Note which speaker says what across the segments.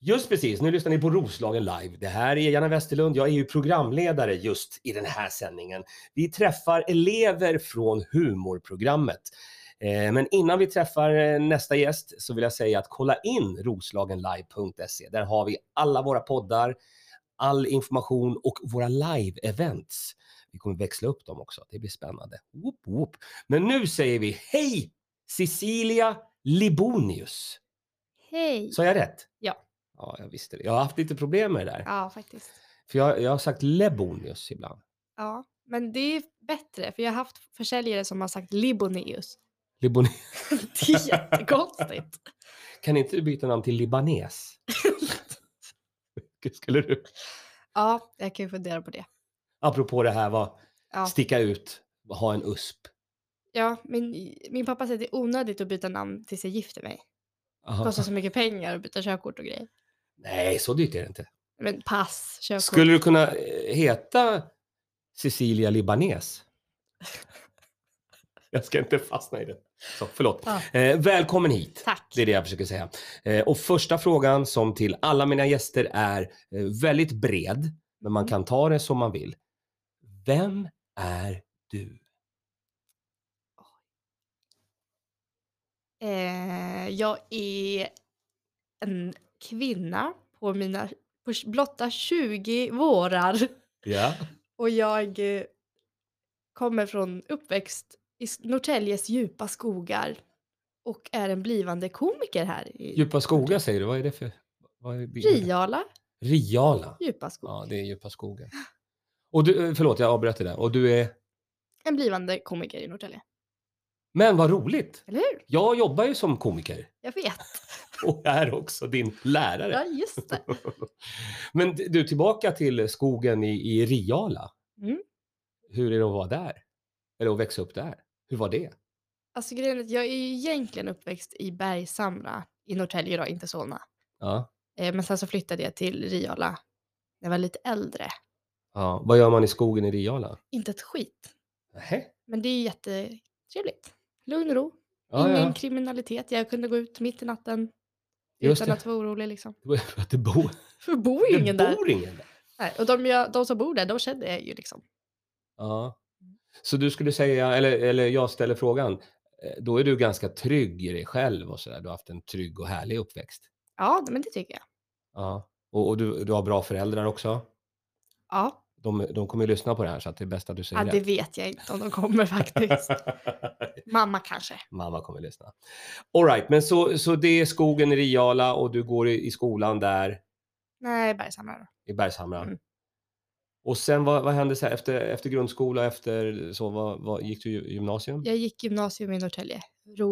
Speaker 1: Just precis, nu lyssnar ni på Roslagen live. Det här är Janne Westerlund, jag är ju programledare just i den här sändningen. Vi träffar elever från humorprogrammet. Eh, Men innan vi träffar eh, nästa gäst så vill jag säga att kolla in roslagenlive.se. Där har vi alla våra poddar, all information och våra live-events. Vi kommer växla upp dem också, det blir spännande. Woop, woop. Men nu säger vi hej Cecilia Libonius.
Speaker 2: Hej!
Speaker 1: Sa jag rätt?
Speaker 2: Ja.
Speaker 1: Ja, jag visste det. Jag har haft lite problem med det där.
Speaker 2: Ja, faktiskt.
Speaker 1: För jag, jag har sagt Lebonius ibland.
Speaker 2: Ja, men det är bättre för jag har haft försäljare som har sagt Libonius.
Speaker 1: Libonius.
Speaker 2: Det är jättekonstigt.
Speaker 1: Kan inte du byta namn till libanes? Skulle du?
Speaker 2: Ja, jag kan ju fundera på det.
Speaker 1: Apropå det här, vad,
Speaker 2: Ja,
Speaker 1: sticka ut, ha en USP.
Speaker 2: ja min, min pappa säger att det är onödigt att byta namn tills jag gifter mig. Det
Speaker 1: Aha.
Speaker 2: kostar så mycket pengar att byta körkort och grejer.
Speaker 1: Nej, så dyrt är det inte.
Speaker 2: Men pass, körkort.
Speaker 1: Skulle du kunna eh, heta Cecilia Libanes? Jag ska inte fastna i det. Så, förlåt.
Speaker 2: Ja.
Speaker 1: Eh, välkommen hit.
Speaker 2: Tack.
Speaker 1: Det är det jag försöker säga. Eh, och första frågan som till alla mina gäster är eh, väldigt bred, men man
Speaker 2: Mm.
Speaker 1: kan ta det som man vill. Vem är du?
Speaker 2: Eh, jag är en kvinna på mina på blotta 20 vårar.
Speaker 1: Ja.
Speaker 2: Och jag eh, kommer från uppväxt i S- Norrtäljes djupa skogar och är en blivande komiker här i
Speaker 1: Djupa skogar säger du, vad är det för? Vad är
Speaker 2: Friala
Speaker 1: Riala.
Speaker 2: djupa skog.
Speaker 1: Ja, det är djupa skogen. Och du, eh, förlåt, jag avbröt det där. Och du är...
Speaker 2: En blivande komiker i Norrtälje.
Speaker 1: Men vad roligt!
Speaker 2: Eller hur?
Speaker 1: Jag jobbar ju som komiker
Speaker 2: Jag vet.
Speaker 1: och är också din lärare.
Speaker 2: Ja, just det.
Speaker 1: Men d- du, tillbaka till skogen i, i Riala.
Speaker 2: Mm.
Speaker 1: Hur är det att vara där? Eller att växa upp där? Hur var det?
Speaker 2: Alltså grejen är att jag är ju egentligen uppväxt i Bergshamra i Norrtälje då, inte Solna.
Speaker 1: Ja.
Speaker 2: Eh, Men sen så flyttade jag till Riala när jag var lite äldre.
Speaker 1: ja. Vad gör man i skogen i Riala?
Speaker 2: Inte ett skit.
Speaker 1: Nähä.
Speaker 2: Men det är ju jättetrevligt. Lugn och ro.
Speaker 1: Ja,
Speaker 2: Ingen
Speaker 1: ja.
Speaker 2: kriminalitet. Jag kunde gå ut mitt i natten
Speaker 1: Just
Speaker 2: utan
Speaker 1: det.
Speaker 2: att vara orolig. Liksom.
Speaker 1: Det var för att det bor,
Speaker 2: För det bor ju
Speaker 1: det
Speaker 2: ingen där.
Speaker 1: bor ingen där.
Speaker 2: Nej, och de, jag, de som bor där, de känner jag ju liksom.
Speaker 1: Ja.
Speaker 2: Mm.
Speaker 1: Så du skulle säga, eller, eller jag ställer frågan, eh, då är du ganska trygg i dig själv och sådär. Du har haft en trygg och härlig uppväxt.
Speaker 2: Ja, men det tycker jag.
Speaker 1: Ja. Och, och du, du har bra föräldrar också.
Speaker 2: Ja,
Speaker 1: De, de kommer ju lyssna på det här så att det är bäst att du säger
Speaker 2: ja det vet jag inte om de kommer faktiskt. Mamma kanske.
Speaker 1: Mamma kommer lyssna. All right, men så, så det är skogen i Riala och du går i, i skolan där
Speaker 2: Nej, Bergshamra då.
Speaker 1: i Bergshamra.
Speaker 2: Mm.
Speaker 1: Och sen vad, vad hände sen efter, efter grundskola, efter så, vad, vad, gick du ju- gymnasium?
Speaker 2: Jag gick gymnasium i Norrtälje,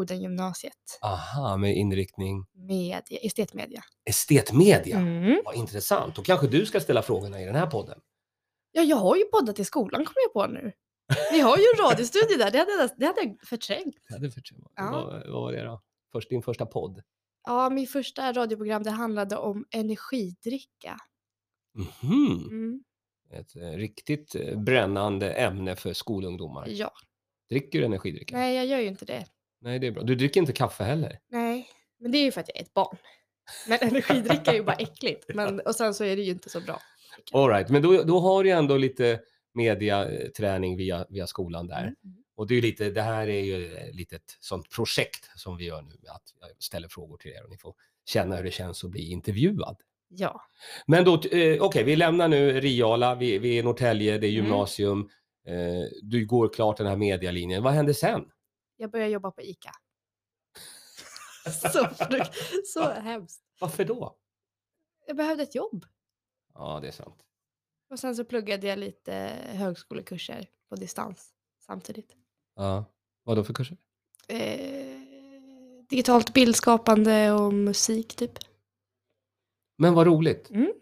Speaker 2: Rodengymnasiet,
Speaker 1: Aha, med inriktning
Speaker 2: media, estetmedia.
Speaker 1: estetmedia.
Speaker 2: Mm.
Speaker 1: Vad intressant. Då kanske du ska ställa frågorna i den här podden.
Speaker 2: Ja, jag har ju poddat i skolan kommer jag på nu. Vi har ju en radiostudio där, det hade, jag- det hade jag förträngt.
Speaker 1: Ja, det förstår jag.
Speaker 2: Ja.
Speaker 1: Vad, vad var det då? Först, din första podd?
Speaker 2: Ja, min första radioprogram det handlade om energidricka.
Speaker 1: Mhm.
Speaker 2: Mm.
Speaker 1: Ett eh, riktigt eh, brännande ämne för skolungdomar.
Speaker 2: Ja,
Speaker 1: Dricker du energidrycker?
Speaker 2: nej jag gör ju inte det.
Speaker 1: Nej, det är bra. Du dricker inte kaffe heller?
Speaker 2: Nej, men det är ju för att jag är ett barn. Men energidricka är ju bara äckligt. Men, och sen så är det ju inte så bra.
Speaker 1: All right, men då, då har du ändå lite mediaträning via, via skolan där.
Speaker 2: Mm.
Speaker 1: Och det, är ju lite, det här är ju eh, ett litet sånt projekt som vi gör nu, att jag ställer frågor till er och ni får känna hur det känns att bli intervjuad.
Speaker 2: Ja.
Speaker 1: Men då, eh, okej, vi lämnar nu Riala, vi, vi är i Norrtälje, det är
Speaker 2: Mm.
Speaker 1: gymnasium, eh, du går klart den här medialinjen. Vad hände sen?
Speaker 2: Jag började jobba på ICA. så, fruk- så hemskt.
Speaker 1: Varför då?
Speaker 2: Jag behövde ett jobb.
Speaker 1: Ja, det är sant.
Speaker 2: Och sen så pluggade jag lite högskolekurser på distans samtidigt.
Speaker 1: Ja. Vad då för kurser?
Speaker 2: Eh, digitalt bildskapande och musik typ.
Speaker 1: Men vad roligt.
Speaker 2: Mm.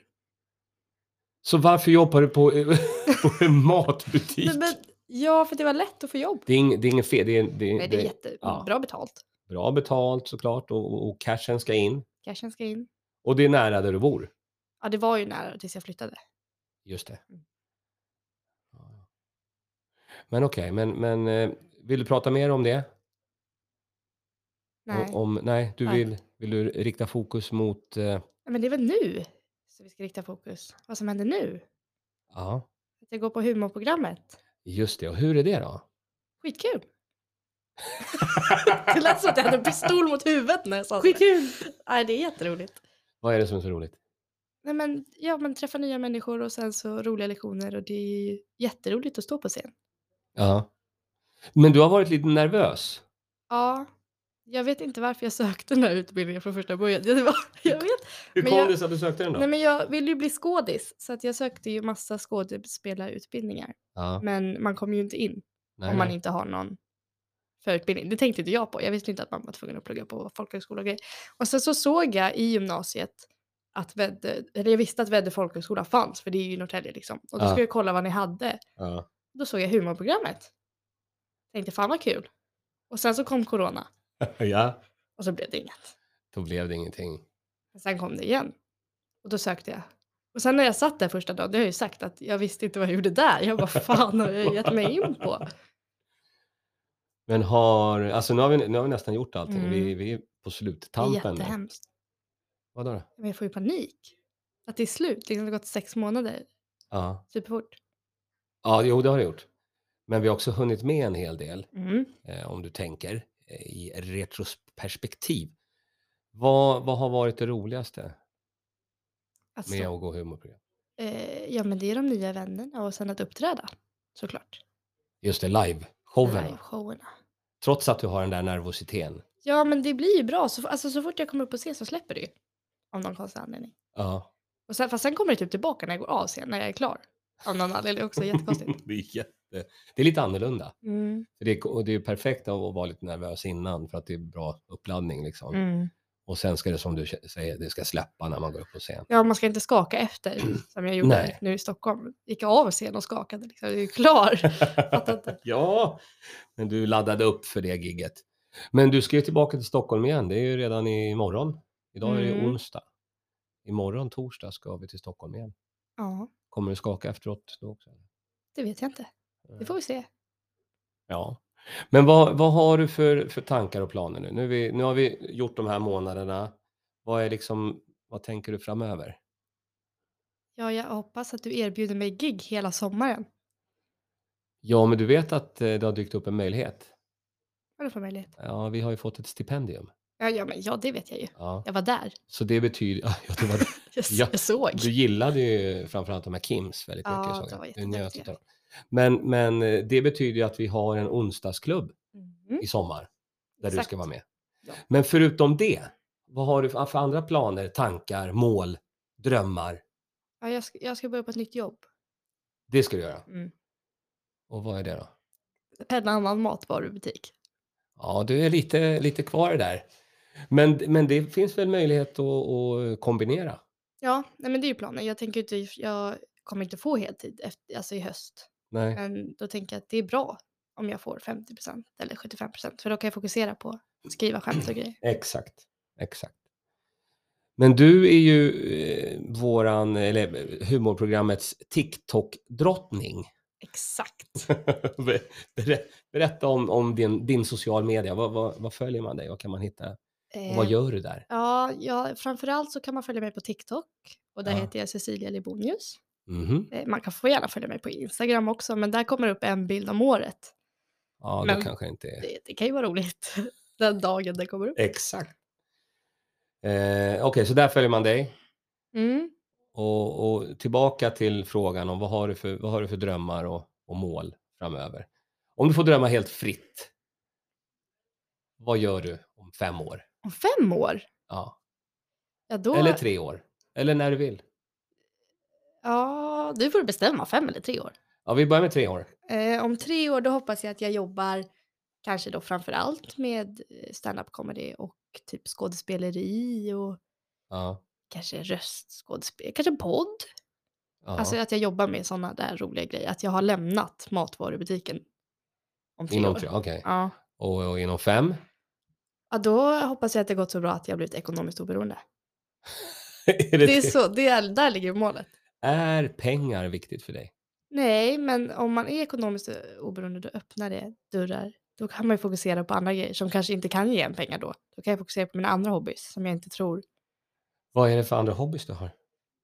Speaker 1: Så varför jobbar du på, på en matbutik?
Speaker 2: Men, men, ja, för det var lätt att få jobb.
Speaker 1: Det är, ing, det är inget fel. Det är, det, är-
Speaker 2: Nej, det är
Speaker 1: det är
Speaker 2: jättebra
Speaker 1: ja.
Speaker 2: betalt.
Speaker 1: bra betalt såklart och, och- och cashen ska in.
Speaker 2: Cashen ska in.
Speaker 1: Och det är nära där du bor.
Speaker 2: Ja, det var ju nära tills jag flyttade.
Speaker 1: Just det.
Speaker 2: Mm.
Speaker 1: Ja, ja. Men okej, men, men eh, vill du prata mer om det?
Speaker 2: Nej.
Speaker 1: Om, om, nej, du
Speaker 2: Nej.
Speaker 1: vill, vill du rikta fokus mot eh,
Speaker 2: men det är väl nu så vi ska rikta fokus. Vad som händer nu.
Speaker 1: Ja,
Speaker 2: Att jag går på humorprogrammet.
Speaker 1: just det. Och hur är det då?
Speaker 2: Skitkul! Det lät som att jag hade en pistol mot huvudet när jag sa det.
Speaker 1: Skitkul!
Speaker 2: Nej, det är jätteroligt.
Speaker 1: Vad är det som är så roligt?
Speaker 2: Nej, men, ja, men träffa nya människor och sen så roliga lektioner och det är ju jätteroligt att stå på scen.
Speaker 1: Ja. Men du har varit lite nervös.
Speaker 2: Ja, jag vet inte varför jag sökte den här utbildningen från första början. Det var, jag vet
Speaker 1: Hur
Speaker 2: Men
Speaker 1: kom
Speaker 2: jag-
Speaker 1: det sig att du sökte den då?
Speaker 2: Nej, men jag ville ju bli skådis så att jag sökte ju massa skådespelarutbildningar.
Speaker 1: ja,
Speaker 2: Men man kommer ju inte in
Speaker 1: nej,
Speaker 2: om man
Speaker 1: nej.
Speaker 2: inte har någon förutbildning. Det tänkte inte jag på. Jag visste inte att man var tvungen att plugga på folkhögskola och grejer. Och sen så såg jag i gymnasiet att Väddö, eller jag visste att Väddö folkhögskola fanns för det är ju i Norrtälje liksom. Och då
Speaker 1: Ja.
Speaker 2: skulle jag kolla vad ni hade.
Speaker 1: Ja.
Speaker 2: Då såg jag humorprogrammet. Tänkte fan vad kul. Och sen så kom corona
Speaker 1: ja,
Speaker 2: och så blev det inget.
Speaker 1: då blev det ingenting.
Speaker 2: Men sen kom det igen. Och då sökte jag. Och sen när jag satt där första dagen, det har jag ju sagt att jag visste inte vad jag gjorde där. Jag bara fan har jag gett mig in på?
Speaker 1: Men har, alltså nu har vi, nu har vi nästan gjort allting.
Speaker 2: Mm.
Speaker 1: Vi, vi är på
Speaker 2: Det är
Speaker 1: sluttampen. nu.
Speaker 2: jättehemskt.
Speaker 1: Vadå då?
Speaker 2: Men jag får ju panik. Att det är slut, liksom det har gått sex månader,
Speaker 1: Ja.
Speaker 2: superfort.
Speaker 1: ja, jo det har det gjort. Men vi har också hunnit med en hel del.
Speaker 2: Mm.
Speaker 1: eh, om du tänker eh, i retrospektiv. Vad, vad har varit det roligaste
Speaker 2: Alltså,
Speaker 1: med att gå humorprogram?
Speaker 2: eh, ja men det är de nya vännerna och sen att uppträda, såklart.
Speaker 1: Just det, live-showen.
Speaker 2: Liveshowerna.
Speaker 1: Trots att du har den där nervositeten.
Speaker 2: Ja men det blir ju bra, så, alltså, så fort jag kommer upp på scen så släpper det ju. Av någon konstig anledning.
Speaker 1: Ja.
Speaker 2: Och sen, fast sen kommer det typ tillbaka när jag går av scen, när jag är klar. Av någon anledning också, jättekonstigt.
Speaker 1: det, är jätte... det är lite annorlunda.
Speaker 2: Mm.
Speaker 1: För Det är, och det är ju perfekt av att vara lite nervös innan för att det är bra uppladdning. Liksom.
Speaker 2: Mm.
Speaker 1: Och sen ska det som du kä- säger, det ska släppa när man går upp på scen.
Speaker 2: Ja, man ska inte skaka efter som jag gjorde
Speaker 1: Nej.
Speaker 2: nu i Stockholm. Gick av scen och skakade liksom. Jag är ju klar. Fattar inte.
Speaker 1: ja, men du laddade upp för det gigget. Men du ska ju tillbaka till Stockholm igen. Det är ju redan imorgon. Idag är det
Speaker 2: Mm.
Speaker 1: onsdag. Imorgon torsdag ska vi till Stockholm igen.
Speaker 2: Ja,
Speaker 1: Kommer du skaka efteråt då också?
Speaker 2: det vet jag inte. Det får vi se.
Speaker 1: Ja. Men vad, vad har du för, för tankar och planer nu? Nu, är vi, nu har vi gjort de här månaderna. Vad är liksom, vad tänker du framöver?
Speaker 2: Ja, jag hoppas att du erbjuder mig gig hela sommaren.
Speaker 1: Ja, men du vet att eh, det har dykt upp en möjlighet.
Speaker 2: Har du för möjlighet?
Speaker 1: Ja, vi har ju fått ett stipendium.
Speaker 2: Ja, ja, men ja, det vet jag ju.
Speaker 1: Ja,
Speaker 2: Jag var där.
Speaker 1: så det betyder... Ja, det var
Speaker 2: Jag,
Speaker 1: Ja,
Speaker 2: jag såg.
Speaker 1: Du gillade ju framförallt de här Kims väldigt
Speaker 2: Ja,
Speaker 1: mycket.
Speaker 2: de
Speaker 1: såg jag.
Speaker 2: var
Speaker 1: Du njöt
Speaker 2: jätteduktiga.
Speaker 1: utav dem. Men, men eh, det betyder ju att vi har en onsdagsklubb
Speaker 2: Mhm.
Speaker 1: i sommar där du ska
Speaker 2: Exakt.
Speaker 1: vara med.
Speaker 2: Ja.
Speaker 1: Men förutom det, vad har du för för andra planer, tankar, mål, drömmar?
Speaker 2: Ja, jag, ska, jag ska börja på ett nytt jobb.
Speaker 1: Det ska du göra.
Speaker 2: Mm.
Speaker 1: Och vad är det då?
Speaker 2: En annan matvarubutik.
Speaker 1: Ja, du är lite, lite kvar där. Men, men det finns väl möjlighet att, att kombinera?
Speaker 2: Ja, nej, men det är ju planen. Jag tänker inte, jag kommer inte få heltid efter, alltså i höst.
Speaker 1: Nej.
Speaker 2: Men då tänker jag att det är bra om jag får 50% eller 75% för då kan jag fokusera på att skriva skämt och grejer.
Speaker 1: Exakt, exakt. Men du är ju eh, våran, eller eh, humorprogrammets TikTok-drottning.
Speaker 2: Exakt.
Speaker 1: Ber- ber- Berätta om, om din, din social media. Vad, vad, vad följer man dig? Vad kan man hitta? Och vad
Speaker 2: Eh,
Speaker 1: gör du där?
Speaker 2: Ja, ja, framförallt så kan man följa mig på TikTok och där
Speaker 1: Ja.
Speaker 2: heter jag Cecilia Libonius.
Speaker 1: Mhm.
Speaker 2: Eh, Man kan få gärna följa mig på Instagram också, men där kommer upp en bild om året.
Speaker 1: Ja, det
Speaker 2: Men-
Speaker 1: kanske inte är...
Speaker 2: Det, det kan ju vara roligt den dagen det kommer upp.
Speaker 1: Exakt. Eh, Okej, så där följer man dig.
Speaker 2: Mm.
Speaker 1: Och, och tillbaka till frågan om vad har du för, vad har du för drömmar och, och mål framöver? Om du får drömma helt fritt, vad gör du om fem år?
Speaker 2: Om fem år?
Speaker 1: Ja.
Speaker 2: Ja, då...
Speaker 1: Eller tre år? Eller när du vill?
Speaker 2: ja, du får bestämma, fem eller tre år.
Speaker 1: Ja, vi börjar med tre år.
Speaker 2: Eh, om tre år då hoppas jag att jag jobbar kanske då framförallt med eh, stand-up comedy och typ skådespeleri och
Speaker 1: Ja.
Speaker 2: kanske röstskådespel, kanske podd.
Speaker 1: ja.
Speaker 2: Alltså att jag jobbar med sådana där roliga grejer. Att jag har lämnat matvarubutiken om tre
Speaker 1: inom
Speaker 2: år.
Speaker 1: tre, okej.
Speaker 2: Ja.
Speaker 1: Och, och inom fem?
Speaker 2: ja, då hoppas jag att det gått så bra att jag blivit ekonomiskt oberoende.
Speaker 1: är, det
Speaker 2: Det är
Speaker 1: det?
Speaker 2: så, det är, där ligger målet.
Speaker 1: är pengar viktigt för dig?
Speaker 2: Nej, men om man är ekonomiskt oberoende då öppnar det dörrar. Då kan man ju fokusera på andra grejer som kanske inte kan ge en pengar då. Då kan jag fokusera på mina andra hobbys som jag inte tror
Speaker 1: Vad är det för andra hobbys du har?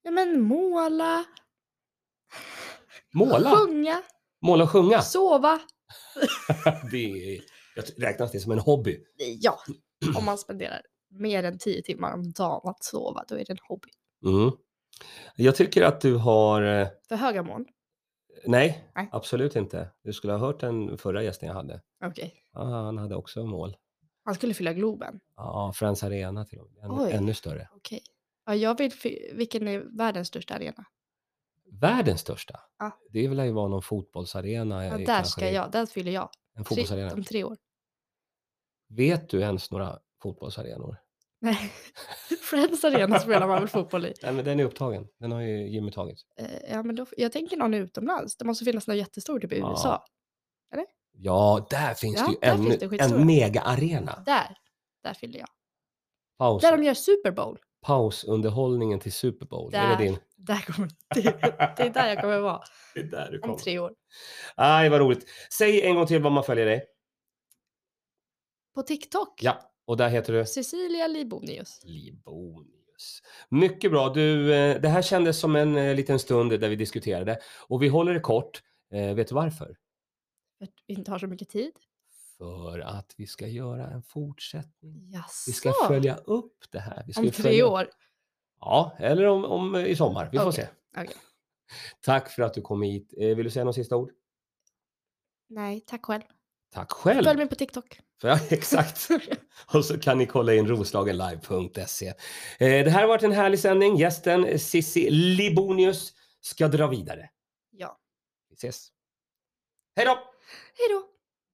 Speaker 2: Ja, men måla,
Speaker 1: Måla!
Speaker 2: sjunga,
Speaker 1: Måla och sjunga.
Speaker 2: sova.
Speaker 1: Det är, jag räknas det som en hobby.
Speaker 2: Ja, om man spenderar mer än 10 timmar om dagen att sova, då är det en hobby.
Speaker 1: Mm. Jag tycker att du har... eh,
Speaker 2: För höga moln.
Speaker 1: Nej,
Speaker 2: Nej.
Speaker 1: absolut inte. Du skulle ha hört den förra gästen jag hade.
Speaker 2: Okej.
Speaker 1: Ja, han hade också mål.
Speaker 2: Han skulle fylla Globen.
Speaker 1: Ja, Friends Arena till och med. Ännu,
Speaker 2: Oj.
Speaker 1: ännu större.
Speaker 2: Okej. Ja, jag vill, fy- vilken är världens största arena?
Speaker 1: Världens största.
Speaker 2: Ja.
Speaker 1: Det vill ju vara någon fotbollsarena.
Speaker 2: Ja,
Speaker 1: eh,
Speaker 2: där
Speaker 1: kanske
Speaker 2: ska
Speaker 1: i-
Speaker 2: jag, där fyller jag.
Speaker 1: En
Speaker 2: Tre,
Speaker 1: fotbollsarena.
Speaker 2: om tre år.
Speaker 1: Vet du ens några fotbollsarenor?
Speaker 2: Nej, Friends Arena spelar man väl fotboll i.
Speaker 1: Nej, men den är upptagen. Den har ju Jimmy tagit.
Speaker 2: Eh, ja, men då, jag tänker någon utomlands. Det måste finnas någon jättestor typ i
Speaker 1: Ja.
Speaker 2: USA.
Speaker 1: Ja, där finns
Speaker 2: Ja,
Speaker 1: det ju
Speaker 2: där finns
Speaker 1: ännu,
Speaker 2: det skitstora.
Speaker 1: en megaarena.
Speaker 2: Där, där fyller jag.
Speaker 1: Paus,
Speaker 2: Där de gör Super Bowl.
Speaker 1: Pausunderhållningen till Super Bowl. Är
Speaker 2: Där.
Speaker 1: det din?
Speaker 2: Där kommer, det, det är där jag kommer vara
Speaker 1: Det är där du
Speaker 2: om tre år.
Speaker 1: Aj, vad roligt. Säg en gång till vad man följer dig.
Speaker 2: På TikTok,
Speaker 1: Ja, och där heter du?
Speaker 2: Cecilia Libonius.
Speaker 1: Libonius. Mycket bra. Du, eh, det här kändes som en eh, liten stund där vi diskuterade och vi håller det kort. Eh, Vet du varför?
Speaker 2: Jag inte har så mycket tid.
Speaker 1: För att vi ska göra en fortsättning.
Speaker 2: Jaså,
Speaker 1: Vi ska följa upp det här. Vi ska
Speaker 2: om
Speaker 1: ju
Speaker 2: tre
Speaker 1: följa-
Speaker 2: år.
Speaker 1: Ja, eller om, om eh, i sommar. Vi får
Speaker 2: Okej,
Speaker 1: se.
Speaker 2: okej.
Speaker 1: Tack för att du kom hit. Eh, Vill du säga några sista ord?
Speaker 2: Nej, tack själv.
Speaker 1: Tack själv.
Speaker 2: Följ mig på TikTok.
Speaker 1: Ja, exakt. Och så kan ni kolla in roslagenlive.se. Eh, Det här har varit en härlig sändning. Gästen eh, Sissi Libonius ska dra vidare.
Speaker 2: Ja,
Speaker 1: Vi ses. Hej då!
Speaker 2: hej då.